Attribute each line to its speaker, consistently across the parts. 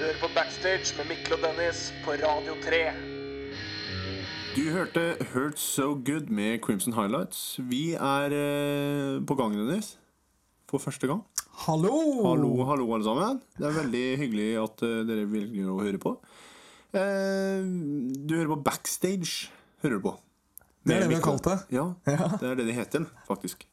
Speaker 1: Hør på Backstage med Mikkel og Dennis på Radio 3.
Speaker 2: Du hørte 'Hurt So Good' med Crimson Highlights. Vi er eh, på gang, Dennis. For første gang.
Speaker 3: Hallo!
Speaker 2: Hallo, hallo, alle sammen. Det er veldig hyggelig at eh, dere velger å høre på. Eh, du hører på Backstage. Hører du på.
Speaker 3: Det er det vi
Speaker 2: Med
Speaker 3: har kalt det.
Speaker 2: Ja, det er det det heter, faktisk.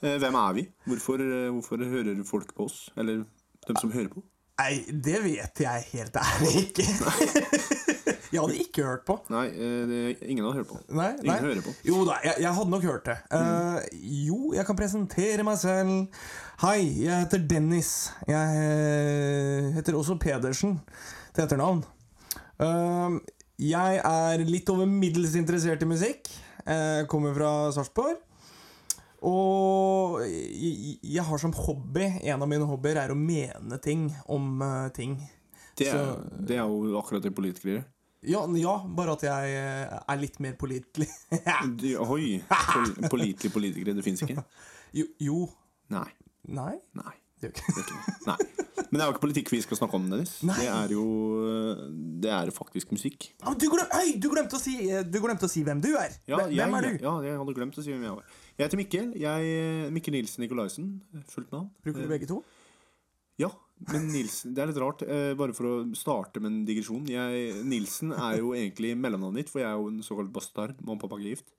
Speaker 2: Eh, hvem er vi? Hvorfor, eh, hvorfor hører folk på oss? Eller dem som hører på?
Speaker 3: Nei, det vet jeg helt ærlig ikke. jeg hadde ikke hørt på.
Speaker 2: Nei, eh, det, ingen har hørt på.
Speaker 3: Nei, nei.
Speaker 2: Ingen hører på. Mm.
Speaker 3: Jo da, jeg, jeg hadde nok hørt det. Eh, jo, jeg kan presentere meg selv. Hei, jeg heter Dennis. Jeg eh, heter også Pedersen til etternavn. Eh, jeg er litt over middels interessert i musikk. Jeg kommer fra Sarpsborg. Og jeg, jeg har som hobby En av mine hobbyer er å mene ting om eh, ting.
Speaker 2: Det er,
Speaker 3: Så-
Speaker 2: det er jo akkurat det politikere gjør.
Speaker 3: Ja, ja, bare at jeg eh, er litt mer pålitelig.
Speaker 2: Du- Ohoi! Pol Pålitelige politikere, det fins ikke?
Speaker 3: jo, jo.
Speaker 2: Nei.
Speaker 3: Nei,
Speaker 2: Nei.
Speaker 3: det gjør ikke det.
Speaker 2: Nei. Men det er jo ikke politikk vi skal snakke om, Dennis.
Speaker 3: Nei.
Speaker 2: Det er jo eh, Det er faktisk musikk.
Speaker 3: Ah, du, glem, Oi, du, glemte å si, eh, du glemte å si hvem du er.
Speaker 2: Ja,
Speaker 3: Hvem- hvem er
Speaker 2: jeg,
Speaker 3: du?
Speaker 2: Ja, jeg hadde glemt å si hvem jeg var. Jeg heter Mikkel. Jeg, Mikkel Nilsen Nikolaisen. Fullt navn.
Speaker 3: Bruker du begge to?
Speaker 2: Ja, men Nilsen Det er litt rart, eh, bare for å starte med en digresjon. Jeg, Nilsen er jo egentlig mellomnavnet ditt, for jeg er jo en såkalt bastard. Mamma og pappa er ikke gift.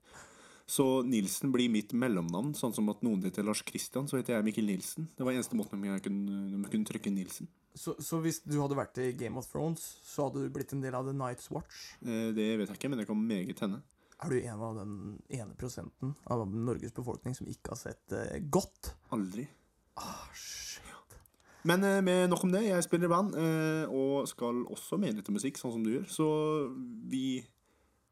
Speaker 2: Så Nilsen blir mitt mellomnavn, sånn som at noen heter Lars Kristian, så heter jeg Mikkel Nilsen. Det var eneste måten jeg kunne, de kunne trykke Nilsen.
Speaker 3: Så, så hvis du hadde vært i Game of Thrones, så hadde du blitt en del av The Night's Watch?
Speaker 2: Eh, Det vet jeg ikke, men det kan meget hende.
Speaker 3: Er du en av den ene prosenten av Norges befolkning som ikke har sett eh, godt?
Speaker 2: Aldri.
Speaker 3: Ah, shit.
Speaker 2: Men eh, med nok om det. Jeg spiller i band eh, og skal også mene litt om musikk, sånn som du gjør. Så vi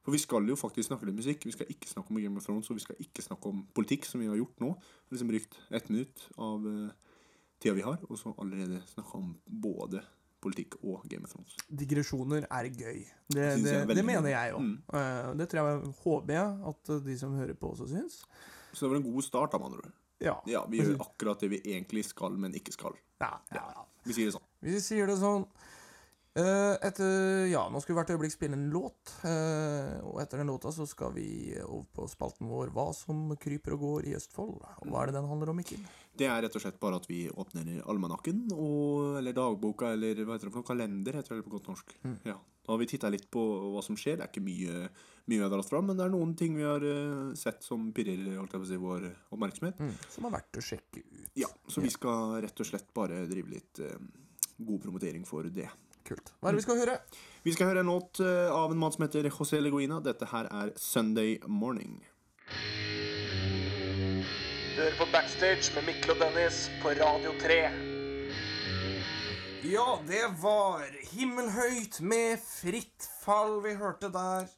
Speaker 2: For vi skal jo faktisk snakke litt musikk. Vi skal ikke snakke om Game of Thrones, og vi skal ikke snakke om politikk, som vi har gjort nå. Vi har liksom brukt ett minutt av eh, tida vi har, og så allerede snakka om både politikk og Game of Thrones.
Speaker 3: Digresjoner er gøy. Det,
Speaker 2: synes
Speaker 3: det,
Speaker 2: jeg er veldig
Speaker 3: det
Speaker 2: gøy.
Speaker 3: mener jeg òg.
Speaker 2: Mm.
Speaker 3: det tror jeg håper jeg at eh, de som hører på, også syns.
Speaker 2: Så det var en god start, da, med andre ord.
Speaker 3: Ja.
Speaker 2: Ja, vi
Speaker 3: Mm.
Speaker 2: gjør akkurat det vi egentlig skal, men ikke skal.
Speaker 3: ja, ja, ja.
Speaker 2: Vi sier det sånn.
Speaker 3: Vi sier det sånn eh, etter, Ja, nå skal vi hvert øyeblikk spille en låt. eh, og etter den låta så skal vi over på spalten vår Hva som kryper og går i Østfold. Og hva er det den handler om, Mikkel?
Speaker 2: Det er rett og slett bare at vi åpner almanakken, og, eller dagboka, eller hva heter det for noe, kalender, heter det på godt norsk. Ja. Da har vi titta litt på hva som skjer. Det er ikke mye, mye vi har dratt fram, men det er noen ting vi har eh, sett som pirrer holdt jeg på å si, vår oppmerksomhet.
Speaker 3: Som er verdt å sjekke ut.
Speaker 2: Hmm. Ja, Så vi skal rett og slett bare drive litt eh, god promotering for det.
Speaker 3: Kult. Hva er det vi skal høre?
Speaker 2: Vi skal høre en låt eh, av en mann som heter José Leguina. Dette her er 'Sunday Morning'.
Speaker 1: Hør på Backstage med Mikkel og Dennis på Radio 3.
Speaker 3: Ja, det var Himmelhøyt med Fritt fall vi hørte der.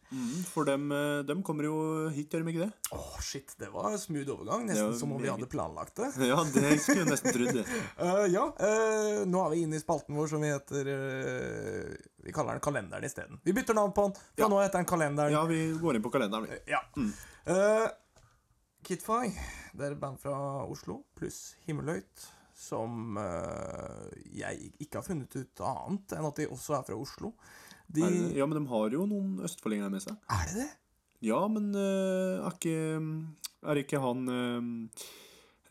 Speaker 2: For dem, eh, dem kommer jo hit, gjør de ikke det?
Speaker 3: Åh, shit, det var smooth overgang.
Speaker 2: Det
Speaker 3: Nesten
Speaker 2: var
Speaker 3: som om vi
Speaker 2: meget-
Speaker 3: hadde planlagt det.
Speaker 2: Ja, det skulle jeg nesten trodd. det.
Speaker 3: Eh, ja, eh, nå er vi inne i spalten vår som vi heter eh, Vi kaller den Kalenderen isteden. Vi bytter navn på den. Fra
Speaker 2: Ja.
Speaker 3: nå heter den Kalenderen.
Speaker 2: Ja, Mm. vi går inn på kalenderen, vi.
Speaker 3: Ja. Eh, Kidfy, det er et band fra Oslo, pluss Himmelhøyt, som eh, jeg ikke har funnet ut annet enn at de også er fra Oslo. De
Speaker 2: Er det
Speaker 3: Altså-
Speaker 2: det? Ja, men de har jo noen østfoldinger med seg.
Speaker 3: Er det det?
Speaker 2: Ja, men øh, er ikke Er ikke han øh,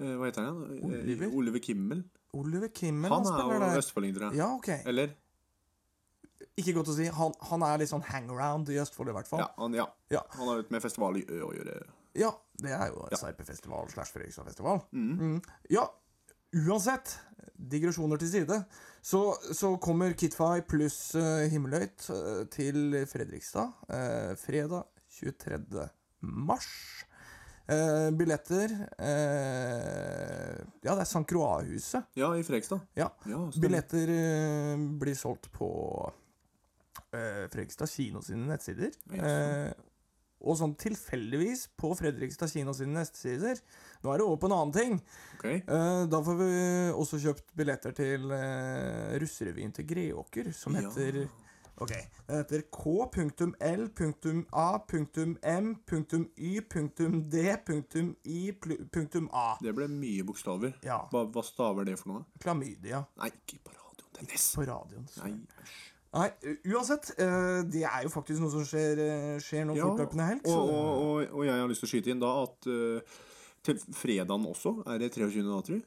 Speaker 2: øh, Hva heter han? igjen?
Speaker 3: Oliver?
Speaker 2: Eh, Oliver Kimmel.
Speaker 3: Oliver Kimmel, han,
Speaker 2: Han er
Speaker 3: spiller
Speaker 2: jo
Speaker 3: der.
Speaker 2: østfolding, tror jeg.
Speaker 3: Ja, ok.
Speaker 2: Eller?
Speaker 3: Ikke godt å si. Han, han er litt sånn hangaround i Østfold, i hvert fall.
Speaker 2: Ja, han, ja.
Speaker 3: Ja.
Speaker 2: han har jo med festival i Ø å gjøre.
Speaker 3: Ja, det er jo Sarpefestival slash Fredrikstadfestival. Mm. Ja, uansett, digresjoner til side, så, så kommer Kitfy pluss eh, Himmelhøyt eh, til Fredrikstad eh, fredag 23. mars. Eh, billetter eh, Ja, det er St. Croix-huset.
Speaker 2: Ja, i Fredrikstad.
Speaker 3: Ja.
Speaker 2: Ja, stemmer.
Speaker 3: Billetter eh, blir solgt på eh, Fredrikstad kino sine nettsider.
Speaker 2: Jaså.
Speaker 3: Eh, og sånn tilfeldigvis på Fredrikstad kino sine nettsider. Nå er det over på en annen ting.
Speaker 2: Ok.
Speaker 3: Eh, da får vi også kjøpt billetter til eh, russerevyen til Greåker, som
Speaker 2: Ja.
Speaker 3: heter Ok, den heter k.l.a.m.y.d.i.a.
Speaker 2: Det ble mye bokstaver.
Speaker 3: Ja.
Speaker 2: Hva, hva staver det for noe?
Speaker 3: Klamydia.
Speaker 2: Nei, ikke på radioen. Dennis.
Speaker 3: på radioen. så-
Speaker 2: Nei.
Speaker 3: Nei, uansett. eh, Det er jo faktisk noe som skjer, eh, skjer nå
Speaker 2: Ja,
Speaker 3: fortløpende helg.
Speaker 2: og,
Speaker 3: Så,
Speaker 2: og, og, og jeg har lyst til å skyte inn da at eh, til fredagen også er det 23. da, tror jeg.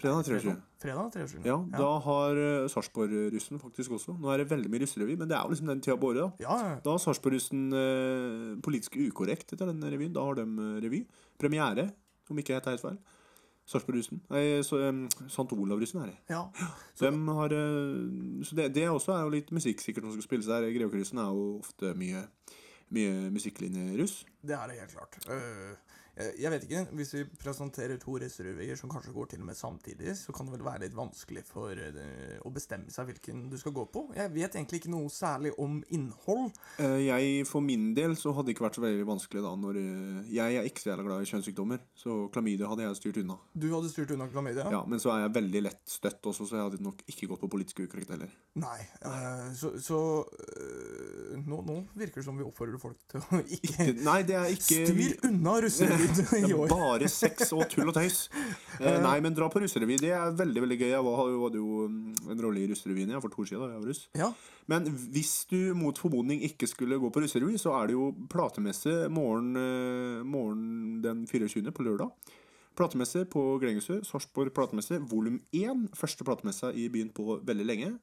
Speaker 2: Fredag er 23.
Speaker 3: fredag 23.
Speaker 2: Ja, da har uh, Sarpsborg-russen faktisk også. Nå er det veldig mye russerevy, men det er jo liksom den tida på året, da.
Speaker 3: ja,
Speaker 2: Da har Sarpsborg-russen eh, politisk ukorrekt etter den revyen. Da har de eh, revy. Premiere, om ikke jeg tar helt feil. Sarpsborg-russen. Nei, så, em, St. Olav-russen er det.
Speaker 3: ja.
Speaker 2: Dem har, eh, så det, det også er jo litt musikk sikkert som skal spilles der. Grevekrisen er jo ofte mye, mye musikklinjeruss.
Speaker 3: Det er det helt klart. Øh, jeg- jeg vet ikke, Hvis vi presenterer to russerevyer som kanskje går til og med samtidig, så kan det vel være litt vanskelig for øh, å bestemme seg hvilken du skal gå på. Jeg vet egentlig ikke noe særlig om innhold.
Speaker 2: Eh, Jeg, for min del, så hadde det ikke vært så veldig vanskelig da når eh, Jeg er ikke så jævla glad i kjønnssykdommer, så klamydia hadde jeg styrt unna.
Speaker 3: Du hadde styrt unna klamydia?
Speaker 2: Ja, Men så er jeg veldig lett støtt også, så jeg hadde nok ikke gått på politisk ukorrekt heller.
Speaker 3: Nei. øh, så så øh, nå, nå virker det som vi oppfordrer folk til å ikke
Speaker 2: Nei, det er ikke
Speaker 3: Styr unna russerevyen
Speaker 2: Det
Speaker 3: i
Speaker 2: er
Speaker 3: år!
Speaker 2: bare sex og tull og tøys. Eh, nei, men dra på russerevy. Det er veldig veldig gøy. Jeg var, hadde jo mm, en rolle i russerevyen jeg, for to år siden. da jeg var russ.
Speaker 3: Ja,
Speaker 2: Men hvis du mot formodning ikke skulle gå på russerevy, så er det jo platemesse morgen, eh, morgen den 24. på lørdag. Platemesse på Glengelsrud. Sarpsborg platemesse volum 1. Første platemessa i byen på veldig lenge.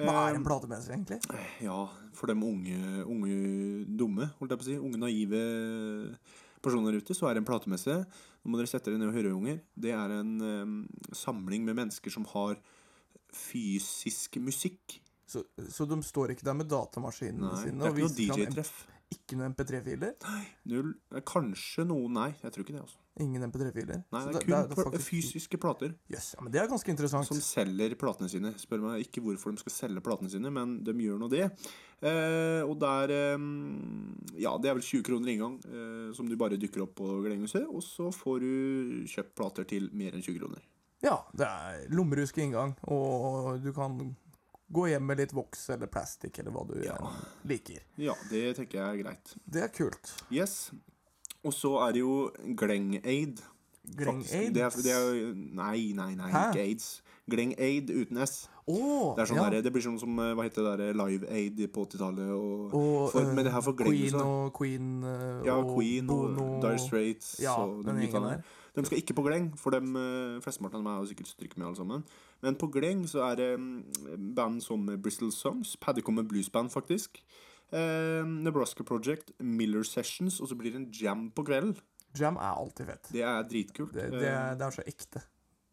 Speaker 3: Hva er
Speaker 2: Ehm,
Speaker 3: en platemesse, egentlig?
Speaker 2: Ja, for dem unge, unge dumme, holdt jeg på å si, unge naive personer der ute, så er det en platemesse. Nå må dere sette dere ned og høre, unger. Det er en eh, samling med mennesker som har fysisk musikk.
Speaker 3: Så, så de står ikke der med datamaskinene
Speaker 2: Nei,
Speaker 3: sine
Speaker 2: det er
Speaker 3: og
Speaker 2: ikke noe
Speaker 3: viser fram
Speaker 2: DJ-treff.
Speaker 3: ikke noen MP3-filer?
Speaker 2: Null. eh, Kanskje noen Nei, jeg tror ikke det. altså
Speaker 3: Ingen MP3-filer.
Speaker 2: Nei,
Speaker 3: Så
Speaker 2: Det er kun Sånn pla- fysiske plater
Speaker 3: Jøss, ja, men det er ganske interessant.
Speaker 2: som selger platene sine. Spør meg ikke hvorfor de skal selge platene sine, men de gjør nå det. Eh, og der eh, Ja, det er vel 20 kroner inngang, eh, som du bare dykker opp på Glenghuset. Og så får du kjøpt plater til mer enn 20 kroner.
Speaker 3: Ja, det er lommerusk inngang, og du kan gå hjem med litt voks eller plastikk eller hva du
Speaker 2: Ja.
Speaker 3: eh, liker.
Speaker 2: Ja, det tenker jeg er greit.
Speaker 3: Det er kult.
Speaker 2: Yes. Og så er det jo Gleng-Aid.
Speaker 3: Gleng
Speaker 2: faktisk.
Speaker 3: Aid.
Speaker 2: Det er, det er, nei, nei, nei,
Speaker 3: Hæ?
Speaker 2: ikke aids. Gleng-Aid uten S.
Speaker 3: Åh,
Speaker 2: Det, er sånn
Speaker 3: ja.
Speaker 2: der, det blir sånn som eh, hva heter det der, Live Aid på 80-tallet. Og,
Speaker 3: Og,
Speaker 2: for,
Speaker 3: eh,
Speaker 2: men det her for Glengelse,
Speaker 3: Queen
Speaker 2: da.
Speaker 3: og Queen eh,
Speaker 2: Ja,
Speaker 3: og
Speaker 2: Queen og
Speaker 3: Bono.
Speaker 2: Dire Straits
Speaker 3: Ja,
Speaker 2: og de
Speaker 3: den
Speaker 2: gutta
Speaker 3: gjengen
Speaker 2: der. De skal ikke på Gleng, for dem, eh, flesteparten av dem er jo sikkert stryk med alle sammen. Men på Gleng så er det mm, band som Bristol Songs, Paddycommon Blues Band faktisk, eh, Nebraska Project, Miller Sessions, og så blir det en jam på kvelden.
Speaker 3: Jam er alltid fett.
Speaker 2: Det er dritkult.
Speaker 3: Det, det,
Speaker 2: Eh,
Speaker 3: er, det er så ekte.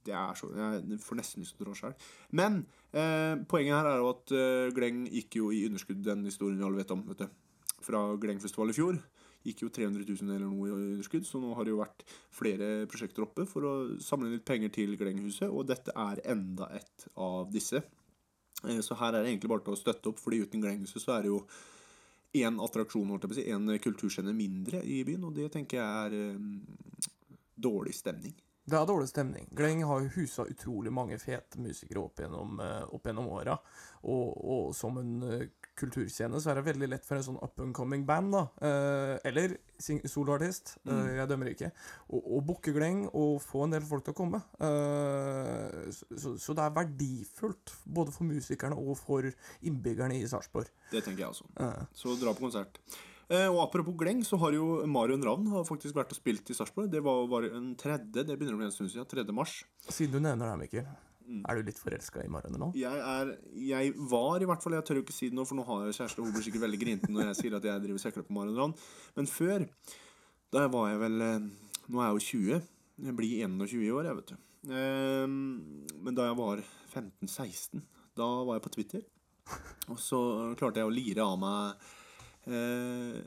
Speaker 2: det er så, jeg får nesten lyst til å dra sjøl. Men eh, poenget her er jo at eh, Gleng gikk jo i underskudd, den historien vi alle vet om. vet du. Fra Glengfestival i fjor gikk jo 300 000 eller noe i underskudd, så nå har det jo vært flere prosjekter oppe for å samle inn litt penger til Glenghuset, og dette er enda et av disse. Eh, Så her er det egentlig bare til å støtte opp, fordi uten Glenghuset så er det jo én attraksjon, holdt jeg på å si, én kulturscene mindre i byen, og det tenker jeg er eh, dårlig stemning.
Speaker 3: Det er dårlig stemning. Gleng har jo husa utrolig mange fete musikere opp gjennom, eh, opp gjennom åra. Og, og som en eh, kulturscene så er det veldig lett for en sånn up and coming band, da. eh, eller sing- soloartist, eh,
Speaker 2: Mm.
Speaker 3: jeg dømmer ikke, å å booke Gleng og få en del folk til å komme. Eh, så, så, så det er verdifullt, både for musikerne og for innbyggerne i Sarpsborg.
Speaker 2: Det tenker jeg også.
Speaker 3: Eh,
Speaker 2: Så dra på konsert. Eh, og apropos Gleng, så har jo Marion Ravn har faktisk vært og spilt i Sarpsborg. Det var bare en tredje, det begynner å bli en stund siden. 3. mars.
Speaker 3: siden du nevner det her, Mikkel,
Speaker 2: Mm.
Speaker 3: er du litt forelska i Marianne nå?
Speaker 2: Jeg, er, jeg var i hvert fall, jeg tør jo ikke si det nå, for nå har jeg kjæreste, og hun blir sikkert veldig grinten når jeg sier at jeg driver og sekler på Marion Ravn. Men før, da var jeg vel eh, Nå er jeg jo 20. Jeg blir 21 i år, jeg, vet du. Eh, men da jeg var 15-16, da var jeg på Twitter. Og så klarte jeg å lire av meg eh,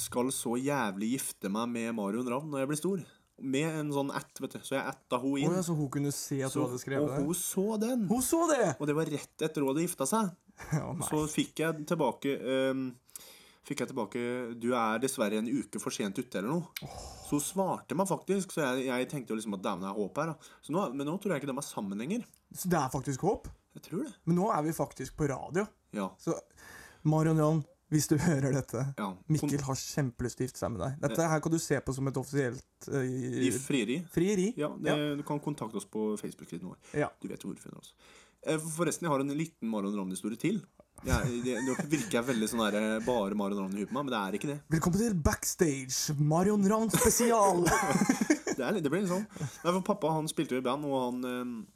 Speaker 2: Skal så jævlig gifte meg med Marion Ravn når jeg blir stor. Med en sånn at, vet du. Så jeg atta hun
Speaker 3: Å
Speaker 2: inn.
Speaker 3: ja, så hun kunne se at du
Speaker 2: så,
Speaker 3: hadde skrevet
Speaker 2: og
Speaker 3: det?
Speaker 2: hun så den.
Speaker 3: Hun så det!
Speaker 2: Og det var rett etter hun hadde gifta seg.
Speaker 3: Ja, nei.
Speaker 2: Så fikk jeg tilbake ehm, Fikk jeg tilbake 'Du er dessverre en uke for sent ute', eller noe. Så hun svarte meg faktisk, så jeg, jeg tenkte jo liksom at dæven, det er håp her. da så nå, Men nå tror jeg ikke de er sammen lenger.
Speaker 3: Så det er faktisk håp.
Speaker 2: Jeg tror det.
Speaker 3: Men nå er vi faktisk på radio.
Speaker 2: Ja.
Speaker 3: Så Marion Jan, hvis du hører dette
Speaker 2: ja.
Speaker 3: Mikkel har kjempelyst til å gifte seg med deg. Dette her kan du se på som et offisielt eh,
Speaker 2: Kon- i frieri.
Speaker 3: frieri.
Speaker 2: Ja, det, Du kan kontakte oss på Facebook-siden vår.
Speaker 3: Ja.
Speaker 2: Du vet jo hvor du finner oss. Eh, Eh, Forresten, jeg har en liten Marion Ravn-historie til. Jeg, det, nå virker jeg veldig sånn der, eh, bare Marion Ravn i huet på meg, men det er ikke det.
Speaker 3: Velkommen til Backstage, Marion Ravn spesial.
Speaker 2: Det, er, litt- det blir litt sånn. Nei, for pappa han spilte jo i band, og han eh,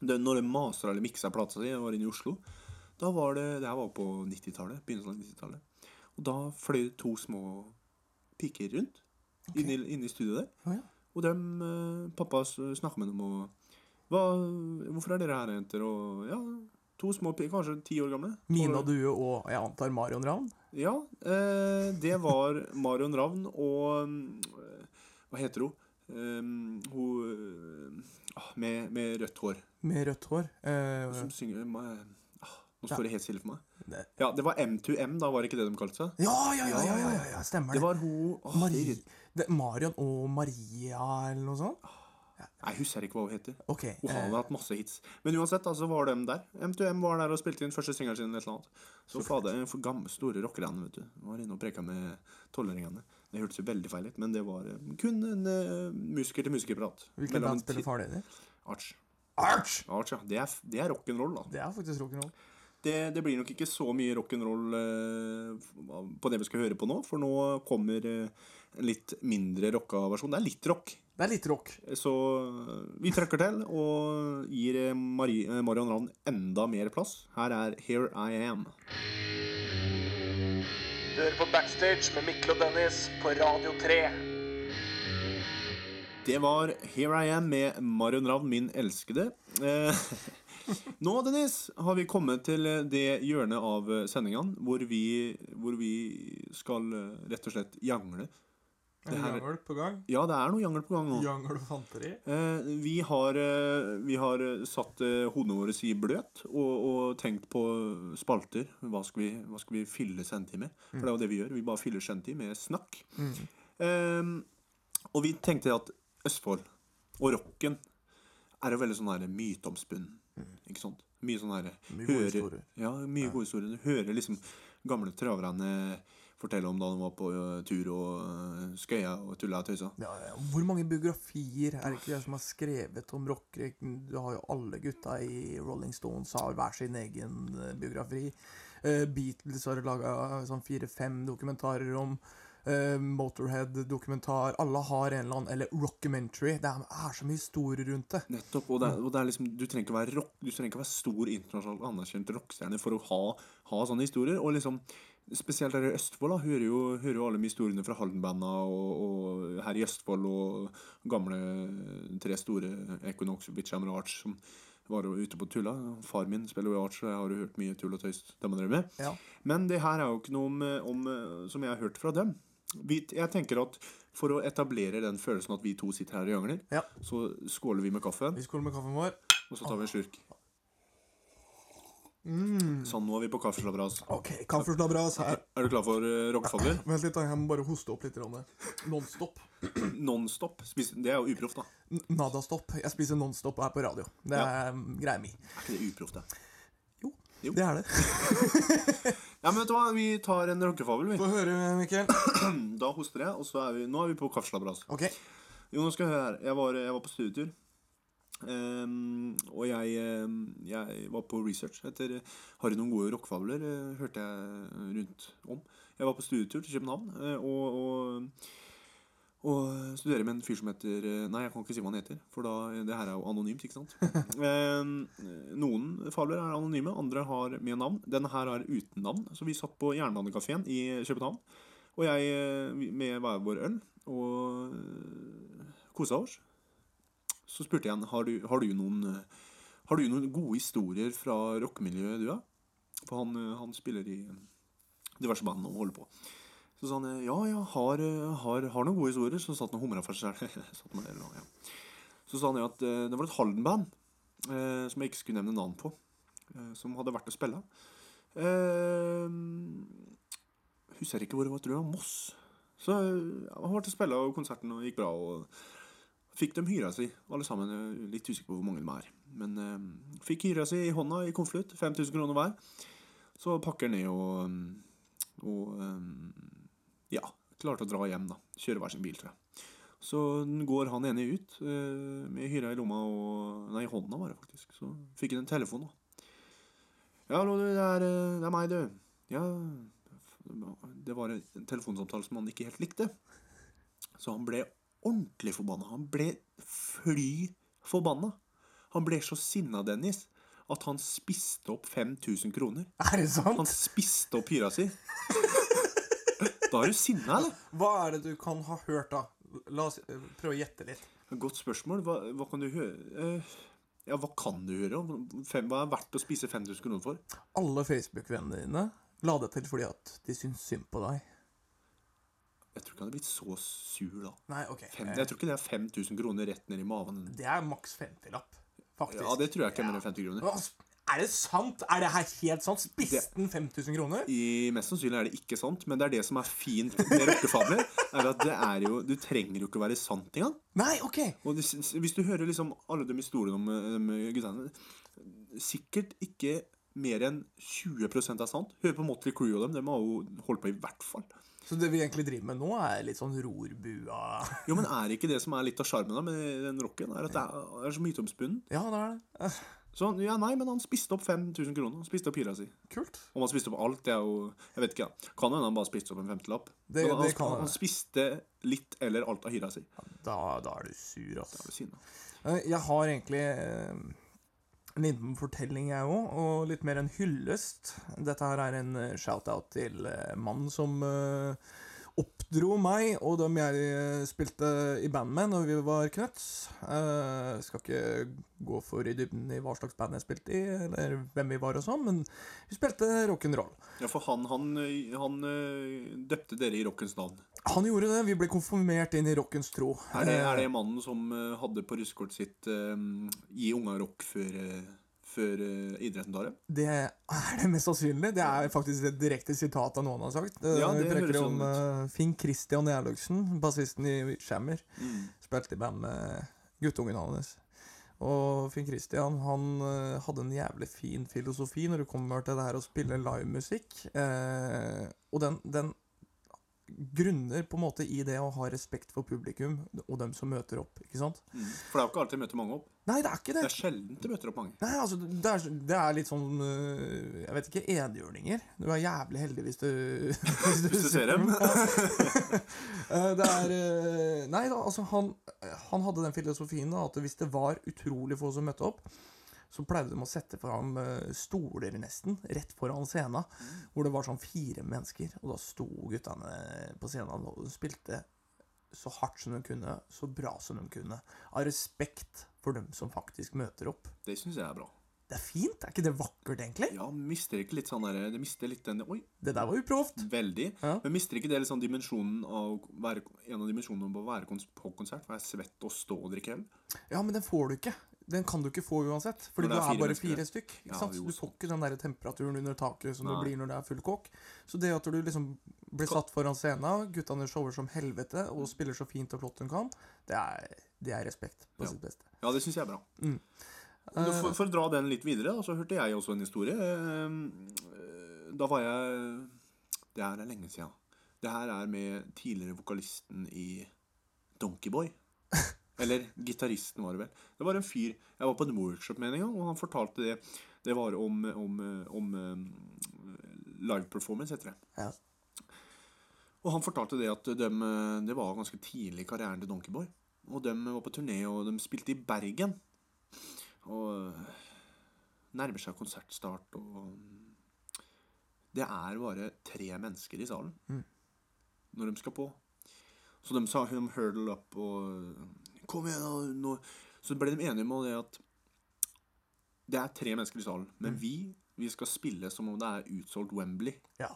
Speaker 2: det, Når de mastra eller miksa plata si, jeg var inne i Oslo Da var det Det her var på 90-tallet. Begynnelsen av 90-tallet. Og da fløy det to små piker rundt inne, i- inne i studioet der.
Speaker 3: Å ja.
Speaker 2: Og dem, eh, pappa s- snakket med dem og Hva, 'Hvorfor er dere her, jenter?' Og ja, to små piker, kanskje ti år gamle.
Speaker 3: Mina
Speaker 2: Og-
Speaker 3: Due og jeg antar Marion Ravn.
Speaker 2: ja, eh, det var Marion Ravn og mm, Hva heter hun? Um, hun ah, med, med rødt hår.
Speaker 3: Med rødt hår. Eh,
Speaker 2: Som synger eh, ah, Nå står det helt stille for meg.
Speaker 3: Nei.
Speaker 2: Ja, Det var M2M, da, var det ikke det de kalte seg?
Speaker 3: ja, ja, ja, ja, ja, ja, ja,
Speaker 2: Det
Speaker 3: stemmer det.
Speaker 2: var hun ah,
Speaker 3: Marie,
Speaker 2: det-
Speaker 3: det, Marion og Maria eller noe sånt?
Speaker 2: Nei, Jeg husker ikke hva hun heter.
Speaker 3: Ok.
Speaker 2: Hun har
Speaker 3: eh,
Speaker 2: hatt masse hits. Men uansett, da, så var de der. M2M var der og spilte inn første singelen sin. eller et eller annet. Så fader, for gamle, store rockerne, vet du. Var inne og preka med tolvåringene. Det hørtes jo veldig feil ut, men det var eh, kun en uh, musiker til musikerprat.
Speaker 3: Hvilket
Speaker 2: Mellom
Speaker 3: band
Speaker 2: en ti-
Speaker 3: spiller far din i?
Speaker 2: Arch.
Speaker 3: Arch!
Speaker 2: Arch, ja. Det er, f- det er rock'n'roll, da.
Speaker 3: Det er faktisk rock'n'roll.
Speaker 2: Det, det blir nok ikke så mye rock'n'roll eh, på det vi skal høre på nå, for nå kommer eh, en litt mindre rocka versjon. Det er litt rock.
Speaker 3: Det er litt rock.
Speaker 2: Så eh, vi trøkker til og gir eh, Marie, eh, Marion Ravn enda mer plass. Her er Here I Am.
Speaker 1: Du hører på Backstage med Mikkel og Dennis på Radio 3.
Speaker 2: Det var Here I Am med Marion Ravn, min elskede. Eh, Nå, Dennis, har vi kommet til det hjørnet av sendingene hvor vi, hvor vi skal eh, rett og slett jangle. Det her-
Speaker 3: Jangel på gang.
Speaker 2: Ja, det er noe jangel på gang nå.
Speaker 3: Jangel og fanteri.
Speaker 2: Eh, vi, har, eh, vi har eh, satt eh, hodene våre i bløt og, og tenkt på spalter. Hva skal vi, hva skal vi fylle sendetid med? For det er jo det vi gjør. Vi bare fyller sendetid med snakk.
Speaker 3: Mm.
Speaker 2: Eh, og vi tenkte at Østfold og rocken er jo veldig sånn her myteomspunnen. Ikke sant? Mye sånn her
Speaker 3: Mm. Mye gode
Speaker 2: hører-
Speaker 3: historier.
Speaker 2: Ja, mye gode historier. Du hører liksom gamle traverne fortelle om da de var på eh, tur og eh, skøya og tulla og tøysa.
Speaker 3: Ja, ja. Hvor mange biografier er det ikke det som har skrevet om rockere? Du har jo alle gutta i Rolling Stones har hver sin egen eh, biografi. Eh, Beatles har laga sånn fire-fem dokumentarer om. eh, Motorhead-dokumentar. Alle har en eller annen. Eller Rockumentary. Det er, er så mye historier rundt det.
Speaker 2: Nettopp, og det, er, og det er liksom Du trenger ikke være rock Du trenger ikke være stor internasjonal anerkjent rockestjerne for å ha, ha sånne historier. Og liksom Spesielt her i Østfold da hører jo, hører jo alle de historiene fra Haldenbanda og, og her i Østfold og gamle tre store Equinox og Bitchhammer og Arch som var jo ute på tulla. Far min spiller jo i Arch, og jeg har jo hørt mye tull og tøys de har drevet med.
Speaker 3: Ja.
Speaker 2: Men det her er jo ikke noe om, om, eh, som jeg har hørt fra dem. Vi, jeg tenker at For å etablere den følelsen at vi to sitter her og jangler,
Speaker 3: Ja.
Speaker 2: så skåler vi med kaffen.
Speaker 3: Vi skåler med kaffen vår.
Speaker 2: Og så tar vi en slurk. Sånn, nå er vi på kaffeslabberas.
Speaker 3: Mm, Ok, kaffeslabberas her.
Speaker 2: Er du klar for uh, rockefadder?
Speaker 3: Vent litt, da, jeg må bare hoste opp litt. grann. Nonstop.
Speaker 2: Nonstop. Spis, det er jo uproft, da.
Speaker 3: N- Nadastopp. Jeg spiser Nonstop her på radio. Det er mm, greia mi.
Speaker 2: Er ikke det uproft, det?
Speaker 3: Jo,
Speaker 2: Jo.
Speaker 3: det er det.
Speaker 2: Ja, men vet du hva? Vi tar en rockefabel, vi.
Speaker 3: Få høre, Mikkel.
Speaker 2: Da hoster jeg, og så er vi Nå er vi på kaffeslabberas.
Speaker 3: Ok.
Speaker 2: Jo, nå skal jeg høre her. Jeg var, jeg var på studietur. Ehm, og jeg, ehm, jeg var på research etter eh, Har du noen gode rockefabler? eh, hørte jeg rundt om. Jeg var på studietur til København eh, og, og, og studerer med en fyr som heter eh, Nei, jeg kan ikke si hva han heter, for da, det her er jo anonymt, ikke sant? Ehm, noen fabler er anonyme, andre har med navn. Denne her er uten navn. Så vi satt på Jernbanekafeen i København, og jeg eh, vi- med hver vår øl. Og kosa oss. Så spurte jeg han har du, har du noen eh, Har du noen gode historier fra rockemiljøet du er? For han, eh, han spiller i eh, diverse band og holder på. Så sa han eh, ja, jeg har, eh, har, har noen gode historier. Så satt han og humra for seg sjøl. Ja. Så sa han jo at eh, det var et Halden-band eh, som jeg ikke skulle nevne navn på, eh, som hadde vært og spilla. Eh, husker ikke hvor det var, tror jeg det var Moss. Så eh, han var til å spille, og konserten og gikk bra. og fikk dem hyra si, alle sammen. eh, Litt usikker på hvor mange de er. Men eh, fikk hyra si i hånda i konvolutt, 5000 kroner hver. Så pakker ned og mm, Og mm, ja. Klarte å dra hjem, da. Kjøre hver sin bil, tror jeg. Så går han ene ut eh, med hyra i lomma og Nei, i hånda, var det faktisk. Så fikk han en telefon, da. Ja, hallo, du, det er, eh, det er meg, du. Ja f- Det var en telefonsamtale som han ikke helt likte. Så han ble ordentlig forbanna. Han ble fly forbanna. Han ble så sinna, Dennis, at han spiste opp 5000 kroner.
Speaker 3: Er det
Speaker 2: Han
Speaker 3: sant?
Speaker 2: spiste opp hyra si. Da er du sinna, eller?
Speaker 3: Hva er det du kan ha hørt, da? La oss eh, prøve å gjette litt.
Speaker 2: Godt spørsmål. Hva, hva kan du høre? Eh, Ja, hva kan du høre? Fem- Hva er verdt å spise 5000 kroner for?
Speaker 3: Alle Facebook-vennene dine la det til fordi at de syns synd på deg.
Speaker 2: Jeg tror ikke han hadde blitt så sur da.
Speaker 3: Nei, ok.
Speaker 2: Fem,
Speaker 3: eh,
Speaker 2: jeg tror ikke det er 5000 kroner rett ned i maven.
Speaker 3: Det er maks 50-lapp, faktisk.
Speaker 2: Ja, det tror jeg ikke er mer enn 50 kroner.
Speaker 3: Hva s- Er det sant? Er det her helt sant? Spiste
Speaker 2: Det-
Speaker 3: den 5000 kroner?
Speaker 2: I, mest sannsynlig er det ikke sant, men det er det som er fint med rockefabler. er at det er jo, Du trenger jo ikke å være sant engang.
Speaker 3: Nei, ok.
Speaker 2: Og hvis, hvis du hører liksom alle de historiene om eh, de guttene Sikkert ikke mer enn 20 er sant. Hør på Motley Crew og dem. De har jo holdt på i hvert fall.
Speaker 3: Så det vi egentlig driver med nå, er litt sånn rorbua
Speaker 2: Jo, men er det ikke det som er litt av sjarmen da med den rocken? Er at det er, er så myteomspunnen.
Speaker 3: Ja, det er det. Eh,
Speaker 2: Så han- ja, nei, men han spiste opp 5000 kroner. Han spiste opp hyra si.
Speaker 3: Kult.
Speaker 2: Om han spiste opp alt, det er jo Jeg vet ikke, ja. Kan hende han bare spiste opp en femtelapp.
Speaker 3: Det-
Speaker 2: Men han,
Speaker 3: det kan
Speaker 2: han,
Speaker 3: hende.
Speaker 2: spiste litt eller alt av hyra si.
Speaker 3: Da, da er du sur, altså.
Speaker 2: Ved siden av.
Speaker 3: Eh, Jeg har egentlig eh, en liten fortelling, jeg òg, og litt mer en hyllest. Dette her er en eh, shout-out til eh, mannen som eh, oppdro meg og dem jeg eh, spilte i band med når vi var knøtts. Eh, Skal ikke gå for i dybden i hva slags band jeg spilte i, eller hvem vi var og sånn, men vi spilte rock'n'roll.
Speaker 2: Ja, for han, han, ø, han ø, døpte dere i rockens navn.
Speaker 3: Han gjorde det. Vi ble konfirmert inn i rockens tro.
Speaker 2: Er det, er det mannen som ø, hadde på russekortet sitt ø, 'gi unga rock' før, ø, før ø, idretten tar dem?
Speaker 3: Det er det mest sannsynlig. Det er faktisk et direkte sitat av noen har sagt. Eh,
Speaker 2: Ja, det
Speaker 3: vi
Speaker 2: høres
Speaker 3: trekker
Speaker 2: sånn
Speaker 3: om
Speaker 2: ut.
Speaker 3: eh, Finn Christian Gjerløksen, bassisten i Shammer. Spilte i band med guttungen hans. Og Finn Christian han eh, hadde en jævlig fin filosofi når det kommer til det her å spille livemusikk. Eh, og den, den grunner på en måte i det å ha respekt for publikum og dem som møter opp. ikke sant?
Speaker 2: Mm. For det er jo ikke alltid møter mange opp.
Speaker 3: Nei, det er ikke det.
Speaker 2: Det er sjelden det møter opp mange.
Speaker 3: Nei, altså, det er, det er litt sånn øh, Jeg vet ikke, enhjørninger. Du er jævlig heldig hvis du Hvis
Speaker 2: Hvis du ser dem.
Speaker 3: Eh, det er eh, Nei da, altså, han, han hadde den filosofien da, at hvis det var utrolig få som møtte opp, så pleide de å sette fram eh, stoler nesten, rett foran scenen, hvor det var sånn fire mennesker, og da sto guttene på scenen og spilte så hardt som de kunne, så bra som de kunne, av respekt for dem som faktisk møter opp.
Speaker 2: Det syns jeg er bra.
Speaker 3: Det er fint, er ikke det vakkert egentlig?
Speaker 2: Ja, mister ikke litt sånn der, Det mister litt den Oi,
Speaker 3: Det der var uproft.
Speaker 2: Veldig.
Speaker 3: Ja.
Speaker 2: Men mister ikke det liksom dimensjonen av å være, en av dimensjonene av å være kons på konsert? Være svett og stå og drikke øl?
Speaker 3: Ja, men den får du ikke. Den kan du ikke få uansett, fordi
Speaker 2: Når
Speaker 3: du
Speaker 2: det er
Speaker 3: er,
Speaker 2: fire
Speaker 3: bare
Speaker 2: mennesker,
Speaker 3: fire
Speaker 2: ja.
Speaker 3: stykk. Ikke
Speaker 2: Ja,
Speaker 3: sant?
Speaker 2: jo,
Speaker 3: Så du får
Speaker 2: sant.
Speaker 3: ikke den der temperaturen under taket som
Speaker 2: Nei.
Speaker 3: det blir når det er full kåk. Så det at du liksom blir satt foran scenen, guttene shower som helvete og spiller så fint og flott hun kan, det er, det er respekt på
Speaker 2: Ja.
Speaker 3: sitt beste.
Speaker 2: Ja, det syns jeg er bra.
Speaker 3: Mm. Eh.
Speaker 2: Men For, for å dra den litt videre, da, så hørte jeg også en historie. Eh, Da var jeg Det her er lenge siden. Det her er med tidligere vokalisten i Donkeyboy. Eller gitaristen, var det vel. Det var en fyr Jeg var på en workshop med en gang, og han fortalte det. Det var om, om, om eh, live performance, heter det.
Speaker 3: Ja.
Speaker 2: Og han fortalte det at dem, eh, det var ganske tidlig i karrieren til Donkeyboy. Og de var på turné, og de spilte i Bergen. Og eh, nærmer seg konsertstart, og mm, Det er bare tre mennesker i salen
Speaker 3: Mm.
Speaker 2: når de skal på. Så de sa de hurdle up og eh, Kom igjen, da! Nå. Så ble de enige om det at det er tre mennesker i salen, men vi, vi skal spille som om det er utsolgt Wembley.
Speaker 3: Ja.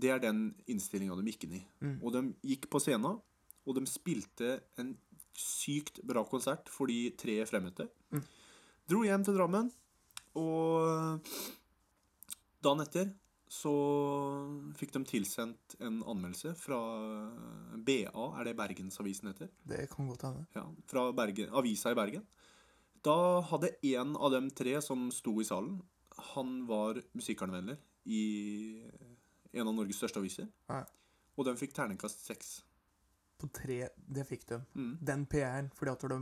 Speaker 2: Det er den innstillinga de gikk inn i. Og de gikk på scenen, og de spilte en sykt bra konsert for de tre fremmøtte. Dro hjem til Drammen, og dagen etter så fikk de tilsendt en anmeldelse fra BA, er det Bergensavisen heter?
Speaker 3: Det kan godt hende.
Speaker 2: Ja, fra Bergen, avisa i Bergen. Da hadde en av de tre som sto i salen, han var musikkanmelder i en av Norges største aviser.
Speaker 3: Ja.
Speaker 2: Og den fikk terningkast seks.
Speaker 3: På tre, det fikk de.
Speaker 2: Mm.
Speaker 3: Den PR-en, fordi at de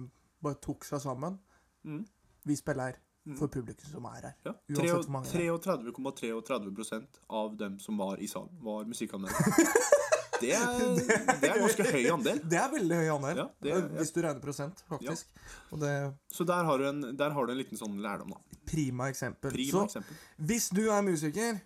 Speaker 3: bare tok seg sammen.
Speaker 2: Mm.
Speaker 3: Vi spiller her. for publikum som er her.
Speaker 2: Ja.
Speaker 3: Uansett hvor mange det er.
Speaker 2: 33,33 av dem som var i salen, var musikkanmeldere. Det er, det er en ganske høy andel.
Speaker 3: Det er veldig høy andel, eh,
Speaker 2: Ja, det er-
Speaker 3: hvis du regner prosent, faktisk. Og det er
Speaker 2: Så der har du en, der har du en liten sånn lærdom, da.
Speaker 3: prima eksempel.
Speaker 2: Prima
Speaker 3: Så
Speaker 2: eksempel.
Speaker 3: hvis du er musiker,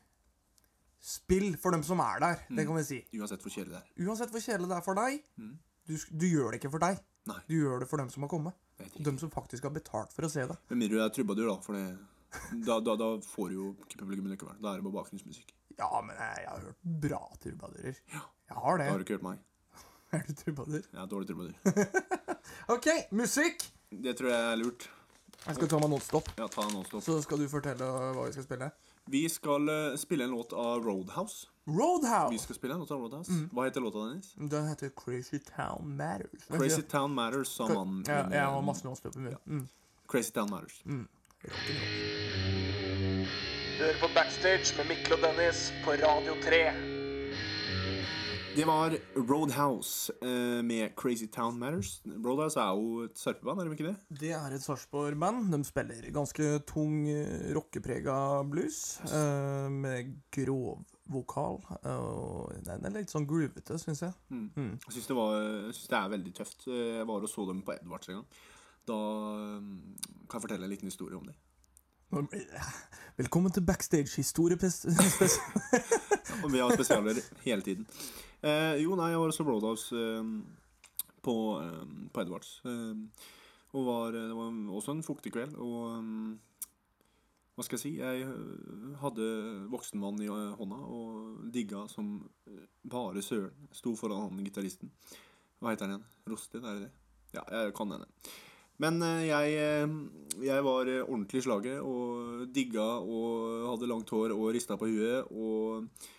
Speaker 3: spill for dem som er der.
Speaker 2: Mm.
Speaker 3: Det kan vi si.
Speaker 2: Uansett hvor kjedelig det er.
Speaker 3: Uansett hvor kjedelig det er for deg,
Speaker 2: Mm.
Speaker 3: du, sk- du gjør det ikke for deg.
Speaker 2: Nei.
Speaker 3: Du gjør det for dem som har kommet.
Speaker 2: det er helt
Speaker 3: Og
Speaker 2: riktig.
Speaker 3: dem som faktisk har betalt for å se det.
Speaker 2: Med mindre du er trubadur, da. For det, da, da, da får du jo ikke publikum likevel. Da er det bare bakgrunnsmusikk.
Speaker 3: Ja, men jeg, jeg har hørt bra trubadurer. Jeg har det.
Speaker 2: Da har du ikke hørt meg.
Speaker 3: Er du trubadur?
Speaker 2: Jeg er dårlig trubadur.
Speaker 3: OK, musikk!
Speaker 2: Det tror jeg er lurt.
Speaker 3: Jeg skal ta meg nonstop,
Speaker 2: Ja, ta en nonstop.
Speaker 3: så skal du fortelle hva vi skal spille.
Speaker 2: Vi skal eh, spille en låt av Roadhouse. Vi
Speaker 3: Roadhouse!
Speaker 2: skal spille en låt av Roadhouse.
Speaker 3: Mm.
Speaker 2: Hva heter låta deres?
Speaker 3: Den heter Crazy Town Matters.
Speaker 2: Crazy Town Matters, sa
Speaker 3: Town
Speaker 2: mannen. eh,
Speaker 3: ja,
Speaker 2: min.
Speaker 3: Jeg har masse Mm. nonstop i munnen. Mm.
Speaker 2: Crazy Town Matters.
Speaker 1: Du hører på Backstage med Mikkel og Dennis på Radio 3.
Speaker 2: Det var Roadhouse eh, med Crazy Town Matters. Roadhouse er jo et sarpeband, er de ikke det?
Speaker 3: Det er et Sarpsborg-band. De spiller ganske tung, eh, rockeprega blues. eh, med grov vokal. eh, og den er litt sånn groovete, syns jeg.
Speaker 2: Jeg syns det, var, jeg synes det er veldig tøft. Eh, Jeg var og så dem på Edvards en gang. Da eh, kan jeg fortelle en liten historie om det.
Speaker 3: eh, Velkommen til backstage historiepes...
Speaker 2: Og vi har spesialer hele tiden. Eh, jo, nei, jeg var og så Roadhouse eh, på, eh, på Edwards. Eh, og var, det var også en fuktig kveld. Og eh, hva skal jeg si? Jeg eh, hadde voksenvann i eh, hånda og digga som eh, bare søren. Sto foran han gitaristen. Hva heter han igjen? Rostin, er det det? Ja, jeg kan henne. Men eh, jeg, eh, jeg var eh, ordentlig i slaget og digga og hadde langt hår og rista på huet. Og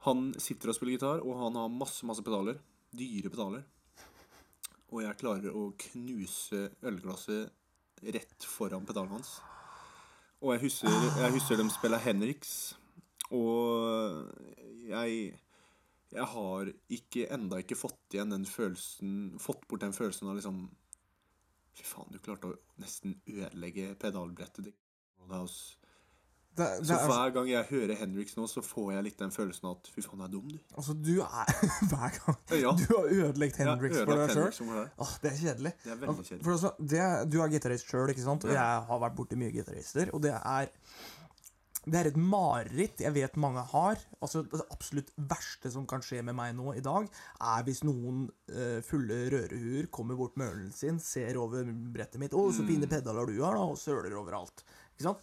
Speaker 2: han sitter og spiller gitar, og han har masse, masse pedaler. Dyre pedaler. Og jeg klarer å knuse ølglasset rett foran pedalen hans. Og jeg husker, jeg husker de spiller Henriks, og jeg Jeg har ikke, enda ikke fått igjen den følelsen Fått bort den følelsen av liksom Fy faen, du klarte å nesten ødelegge pedalbrettet ditt. Roadhouse.
Speaker 3: Det, det
Speaker 2: Så
Speaker 3: er,
Speaker 2: hver gang jeg hører Henriks nå, så får jeg litt den følelsen av at fy faen, du er dum, du.
Speaker 3: altså, du er Hver gang
Speaker 2: Ja.
Speaker 3: du har ødelagt
Speaker 2: Jeg har
Speaker 3: Hendrix for
Speaker 2: ødelagt
Speaker 3: deg
Speaker 2: Henrik
Speaker 3: sjøl.
Speaker 2: som var der.
Speaker 3: Åh, det er kjedelig.
Speaker 2: Det er veldig kjedelig.
Speaker 3: For altså, det, du er gitarist sjøl, ikke sant? Og jeg har vært borti mye gitarister, og det er det er et mareritt jeg vet mange har. Altså, det absolutt verste som kan skje med meg nå i dag, er hvis noen eh, fulle rørehuer kommer bort med ølen sin, ser over brettet mitt 'Å, så fine
Speaker 2: Mm.
Speaker 3: pedaler du har', da, og søler overalt. Ikke sant?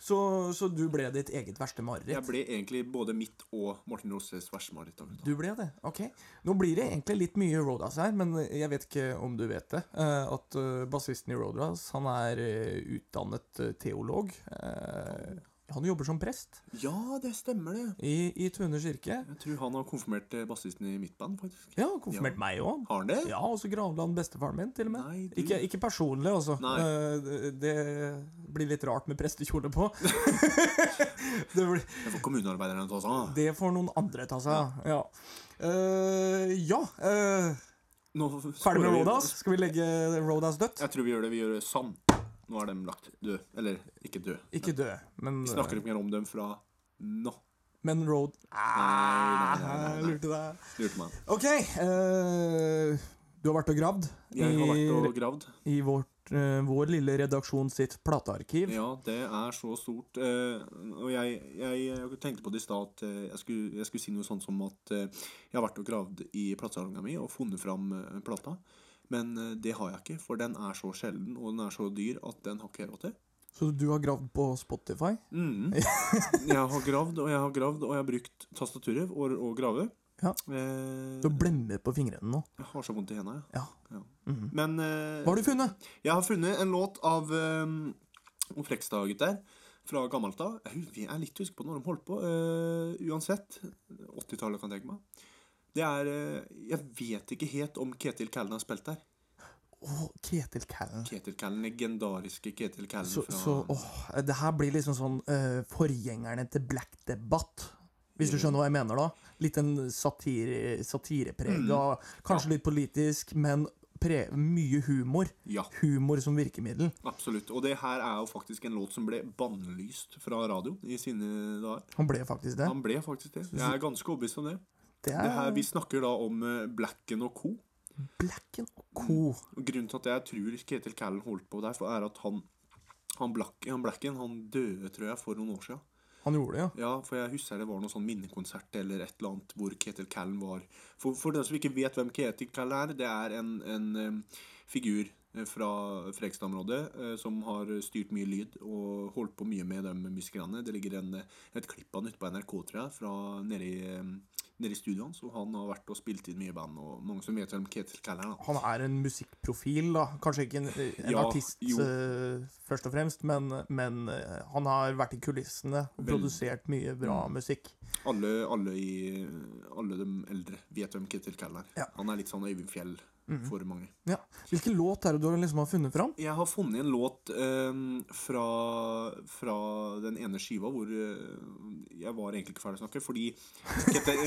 Speaker 3: Så, så du ble ditt eget verste mareritt.
Speaker 2: Jeg ble egentlig både mitt og Martin Roses verste mareritt. akkurat da.
Speaker 3: Du ble det? Ok. Nå blir det egentlig litt mye Roadhouse her, men jeg vet ikke om du vet det. eh, At eh, bassisten i Roadhouse, han er eh, utdannet eh, teolog. Eh, Han jobber som prest
Speaker 2: Ja, det stemmer, det.
Speaker 3: i, i Tune kirke.
Speaker 2: Jeg tror han har konfirmert eh, bassisten i mitt band, faktisk.
Speaker 3: Ja, han konfirmert
Speaker 2: Ja.
Speaker 3: meg òg.
Speaker 2: Har han det?
Speaker 3: Ja, og så gravla han bestefaren min, til og med.
Speaker 2: Nei, du.
Speaker 3: ikke, ikke personlig, altså.
Speaker 2: Nei.
Speaker 3: Eh, det- Det blir litt rart med prestekjole på. det blir,
Speaker 2: Det får kommunearbeiderne ta seg av.
Speaker 3: det får noen andre ta seg av. Ja. Eh, ja. eh,
Speaker 2: Nå
Speaker 3: Ferdig med
Speaker 2: sporer vi-
Speaker 3: Roadhouse? Skal vi legge Roadhouse dødt?
Speaker 2: Jeg tror vi gjør det. Vi gjør det sann. Nå er dem lagt død. Eller ikke død.
Speaker 3: Ikke dø, men
Speaker 2: Vi snakker ikke mer om dem fra nå.
Speaker 3: Men Road
Speaker 2: Nei, nei, nei, nei,
Speaker 3: Jeg
Speaker 2: nei.
Speaker 3: Lurte deg.
Speaker 2: Lurte meg.
Speaker 3: OK. eh, du har vært og gravd i,
Speaker 2: Jeg har vært og gravd.
Speaker 3: i vårt, eh, vår lille redaksjon sitt platearkiv.
Speaker 2: Ja, det er så stort. Eh, og jeg, jeg, jeg tenkte på det i stad at eh, jeg skulle, jeg skulle si noe sånt som at eh, jeg har vært og gravd i platesalonga mi og funnet fram eh, plata. Men eh, det har jeg ikke, for den er så sjelden og den er så dyr at den har ikke jeg råd til.
Speaker 3: Så du har gravd på Spotify? Mm.
Speaker 2: Mhm. Jeg har gravd og jeg har gravd, og jeg har brukt tastaturer og, og grave.
Speaker 3: Ja.
Speaker 2: Eh,
Speaker 3: Du blemmer på fingrene nå.
Speaker 2: jeg har så vondt i henda, jeg.
Speaker 3: Ja.
Speaker 2: Ja. Men eh,
Speaker 3: Hva har du funnet?
Speaker 2: Jeg har funnet en låt av um, Frekstad, gutter. Fra gammelt av. Jeg hu- Jeg er litt usikker på når de holdt på. eh, uansett. 80-tallet, kan jeg tenke meg. Det er eh, Jeg vet ikke helt om Ketil Callen har spilt der.
Speaker 3: Åh, Ketil Callen.
Speaker 2: Ketil Callen, legendariske Ketil Callen
Speaker 3: Så,
Speaker 2: fra
Speaker 3: så åh, det her blir liksom sånn eh, forgjengerne til Black Debatt. Hvis du
Speaker 2: Mm.
Speaker 3: skjønner hva jeg
Speaker 2: Mm.
Speaker 3: mener, da. Litt en satire, satireprega, kanskje litt politisk, men pre mye humor.
Speaker 2: Ja.
Speaker 3: Humor som virkemiddel.
Speaker 2: Absolutt. Og det her er jo faktisk en låt som ble bannlyst fra radioen i sine dager.
Speaker 3: Han ble faktisk det.
Speaker 2: Han ble faktisk det. Jeg er ganske overbevist om det. det
Speaker 3: Det
Speaker 2: her,
Speaker 3: er
Speaker 2: vi snakker da om eh, Blacken og co.
Speaker 3: Blacken og co.
Speaker 2: Og Grunnen til at jeg tror Ketil Callen holdt på der, for er at han, han, Black, han Blacken han døde, tror jeg, for noen år siden.
Speaker 3: Han gjorde det, ja.
Speaker 2: Ja, for jeg husker det var noen sånn minnekonsert eller et eller annet hvor Ketil Callen var. For, for den som ikke vet hvem Ketil Callen er, det er en, en em, figur eh, fra Frekstad-området eh, som har styrt mye lyd og holdt på mye med de musikerne. Det ligger en, eh, et klipp av han ute på NRK, tror jeg, fra nede i, em, nede i studioet hans. Og han har vært og spilt inn mye band, og mange som vet hvem Ketil Callen er. da.
Speaker 3: Han er en musikkprofil, da. Kanskje ikke en, en
Speaker 2: Ja,
Speaker 3: artist
Speaker 2: jo.
Speaker 3: eh, først og fremst, men, men eh, han har vært i kulissene og
Speaker 2: Vel-
Speaker 3: produsert mye bra
Speaker 2: Mm.
Speaker 3: musikk.
Speaker 2: Alle, alle, i, alle de eldre vet hvem Ketil Callen er.
Speaker 3: Ja. Mhm.
Speaker 2: Han er litt sånn Øyvind Fjell for mange.
Speaker 3: Ja. Hvilken låt er det du har liksom har funnet fram?
Speaker 2: Jeg har funnet en låt ehm, fra, fra den ene skiva hvor eh, Jeg var egentlig ikke ferdig å snakke, fordi Ketil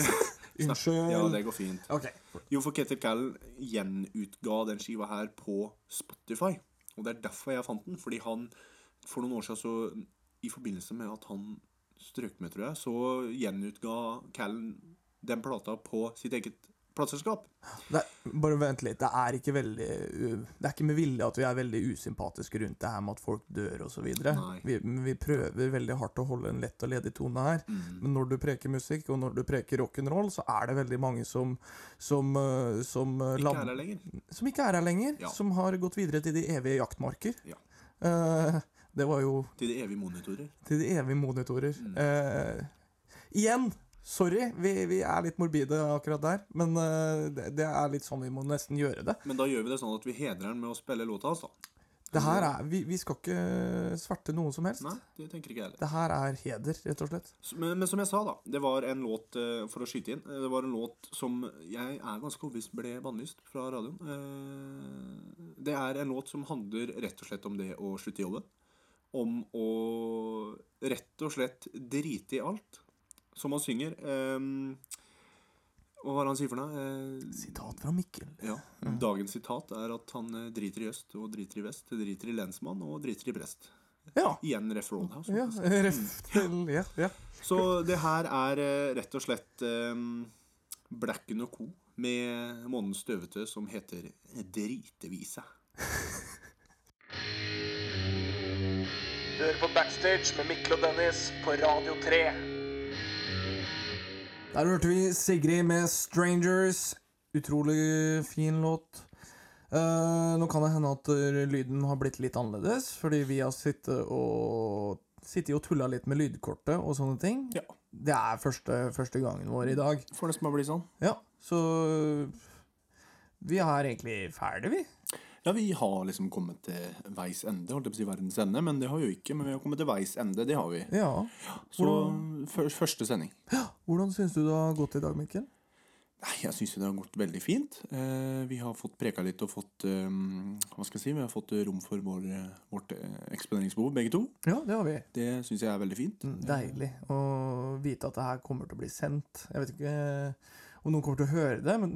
Speaker 3: Unnskyld.
Speaker 2: Ja, det går fint.
Speaker 3: Ok.
Speaker 2: Jo, for Ketil Callen gjenutga den skiva her på Spotify. Og det er derfor jeg fant den. Fordi han for noen år siden, så i forbindelse med at han strøk med, tror jeg, så gjenutga Callen den plata på sitt eget plateselskap.
Speaker 3: Det er, bare vent litt. Det er ikke veldig u- Det er ikke med vilje at vi er veldig usympatiske rundt det her med at folk dør og så videre.
Speaker 2: Nei.
Speaker 3: Vi, men vi prøver veldig hardt å holde en lett og ledig tone her.
Speaker 2: Mm.
Speaker 3: Men når du preker musikk, og når du preker rock'n'roll, så er det veldig mange som Som, øh, som, øh,
Speaker 2: Ikke
Speaker 3: land-
Speaker 2: er der lenger.
Speaker 3: som ikke er her lenger.
Speaker 2: Ja.
Speaker 3: Som har gått videre til de evige jaktmarker.
Speaker 2: Ja.
Speaker 3: Eh, det var jo
Speaker 2: Til de evige monitorer.
Speaker 3: til de evige monitorer. Eh, igjen! Sorry, vi, vi er litt morbide akkurat der, men eh, det, det er litt sånn vi må nesten gjøre det.
Speaker 2: Men da gjør vi det sånn at vi hedrer han med å spille låta hans, da.
Speaker 3: Det her er, vi, vi skal ikke sverte noen som helst.
Speaker 2: Nei, det tenker ikke jeg heller.
Speaker 3: Det her er heder, rett og slett.
Speaker 2: S- Men, men som jeg sa, da. Det var en låt eh, for å skyte inn. eh, Det var en låt som jeg er ganske overbevist ble bannlyst fra radioen. Eh, det er en låt som handler rett og slett om det å slutte i jobben. Om å rett og slett drite i alt. Som han synger. Eh, hva var det han sier for noe? Eh,
Speaker 3: Sitat fra Mikkel.
Speaker 2: ja. Dagens sitat er at han eh, driter i øst og driter i vest. Driter i lensmann og driter i prest.
Speaker 3: Ja.
Speaker 2: Igjen Ref Roadhouse.
Speaker 3: ja ref til Ja. ja.
Speaker 2: Så det her er eh, rett og slett um, Blacken og Co. med månens støvete som heter Dritevise.
Speaker 1: Du hører på Backstage med Mikkel og Dennis på Radio 3.
Speaker 3: Der hørte vi Sigrid med 'Strangers'. Utrolig fin låt. Eh, nå kan det hende at eh, lyden har blitt litt annerledes, fordi vi har sittet og, sittet og tulla litt med lydkortet og sånne ting.
Speaker 2: Ja.
Speaker 3: Det er første, første gangen vår i dag.
Speaker 2: Får nesten bare bli sånn.
Speaker 3: Ja, så Vi er egentlig ferdig, vi.
Speaker 2: Ja, vi har liksom kommet til veis ende, holdt jeg på å si verdens ende, men det har vi jo ikke. Men vi har kommet til veis ende, det har vi.
Speaker 3: Ja.
Speaker 2: Så før- første sending.
Speaker 3: Hvordan syns du det har gått i dag, Mikkel?
Speaker 2: Nei, jeg syns det har gått veldig fint. Eh, vi har fått preka litt og fått eh, Hva skal jeg si? Vi har fått rom for vår, eh, vårt eh, eksponeringsbehov, begge to.
Speaker 3: Ja, det har vi.
Speaker 2: Det syns jeg er veldig fint.
Speaker 3: Deilig å vite at det her kommer til å bli sendt. Jeg vet ikke eh, om noen kommer til å høre det, men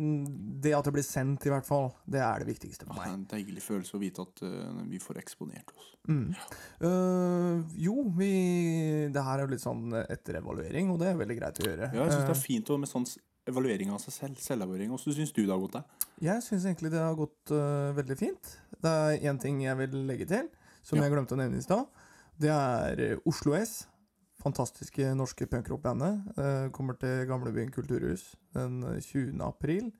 Speaker 3: det at det blir sendt, i hvert fall, det er det viktigste for
Speaker 2: Det er
Speaker 3: meg.
Speaker 2: en deilig følelse å vite at eh, vi får eksponert oss.
Speaker 3: Øh, Mm. jo, vi Det her er jo litt sånn etterevaluering, og det er veldig greit å gjøre.
Speaker 2: Ja, jeg synes
Speaker 3: Eh.
Speaker 2: det er fint å- med sånn s- evaluering av seg selv. Selvevaluering. Hvordan syns du det har gått deg?
Speaker 3: Jeg syns egentlig det har gått øh, veldig fint. Det er én ting jeg vil legge til, som
Speaker 2: Ja.
Speaker 3: jeg glemte å nevne i stad. Det er øh, Oslo S. Fantastiske norske punkrockbandet. øh, kommer til Gamlebyen kulturhus den øh, 20. april.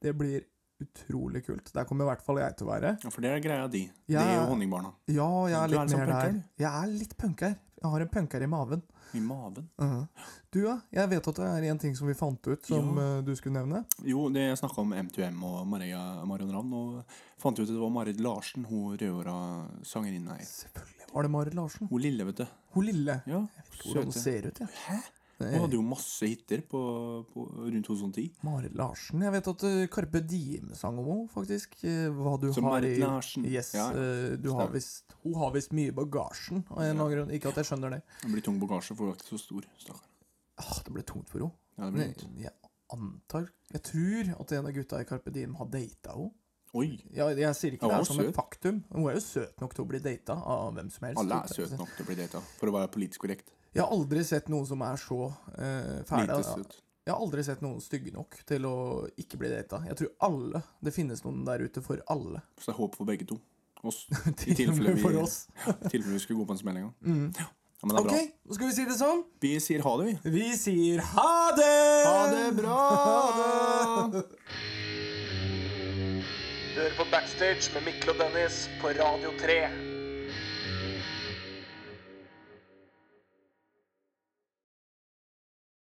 Speaker 3: Det blir utrolig kult. Der kommer i hvert fall jeg til å være.
Speaker 2: Ja, for det er greia di.
Speaker 3: Ja.
Speaker 2: Det og honningbarna.
Speaker 3: Ja, jeg er
Speaker 2: Du er
Speaker 3: litt
Speaker 2: liksom
Speaker 3: mer der.
Speaker 2: punker?
Speaker 3: Jeg er litt punker. Jeg har en punker i maven.
Speaker 2: I maven.
Speaker 3: Mhm. Du, ja. Jeg vet at det er én ting som vi fant ut, som
Speaker 2: Ja.
Speaker 3: øh, du skulle nevne.
Speaker 2: Jo, det jeg snakka om M2M og Maria Marion Ravn, og fant ut at det var Marit Larsen, hun rødhåra sangerinna her.
Speaker 3: Selvfølgelig var det Marit Larsen.
Speaker 2: Hun lille, vet du.
Speaker 3: Hun lille.
Speaker 2: Ja, stor,
Speaker 3: Sånn
Speaker 2: vet du.
Speaker 3: ser ut, ja.
Speaker 2: Hæ? Hun hadde jo masse hiter på, på, rundt 2010.
Speaker 3: Marit Larsen. Jeg vet at eh, Carpe Diem sang om henne, faktisk. eh, Hva du
Speaker 2: Som
Speaker 3: har
Speaker 2: Marit
Speaker 3: i-
Speaker 2: Larsen.
Speaker 3: Yes,
Speaker 2: Ja, ja.
Speaker 3: eh, du har
Speaker 2: Stemmer.
Speaker 3: visst, hun har visst mye i bagasjen. Av en eller annen grunn. Ikke at jeg skjønner det.
Speaker 2: Det blir tung bagasje, for hun er ikke så stor. Stakkar.
Speaker 3: Ah, det ble tungt for henne.
Speaker 2: Ja, det blir
Speaker 3: Men Jeg, jeg antar Jeg tror at en av gutta i Carpe Diem har data henne.
Speaker 2: Oi!
Speaker 3: Ja, jeg sier ikke
Speaker 2: Ja,
Speaker 3: det
Speaker 2: hun
Speaker 3: er
Speaker 2: er
Speaker 3: som
Speaker 2: søt.
Speaker 3: et faktum. Hun er jo søt nok til å bli data av hvem som helst.
Speaker 2: Alle er
Speaker 3: holdt jeg på å si.
Speaker 2: søte nok til å bli data, for å være politisk korrekt.
Speaker 3: Jeg har aldri sett noen som er så eh, fæle.
Speaker 2: Lite
Speaker 3: Jeg
Speaker 2: søt.
Speaker 3: har aldri sett noen stygge nok til å ikke bli data. Jeg tror alle Det finnes noen der ute for alle.
Speaker 2: Så det er håp for begge to. Oss. I
Speaker 3: Til og
Speaker 2: tilfelle
Speaker 3: med
Speaker 2: vi,
Speaker 3: for oss.
Speaker 2: i tilfelle vi skulle gå på en smell en gang. Ja, men det er
Speaker 3: Ok,
Speaker 2: bra.
Speaker 3: nå skal vi si det sånn.
Speaker 2: Vi sier ha det, vi.
Speaker 3: Vi sier ha det!
Speaker 2: Ha det bra!
Speaker 3: Ha det!
Speaker 1: Du hører på Backstage med Mikkel og Dennis på Radio 3.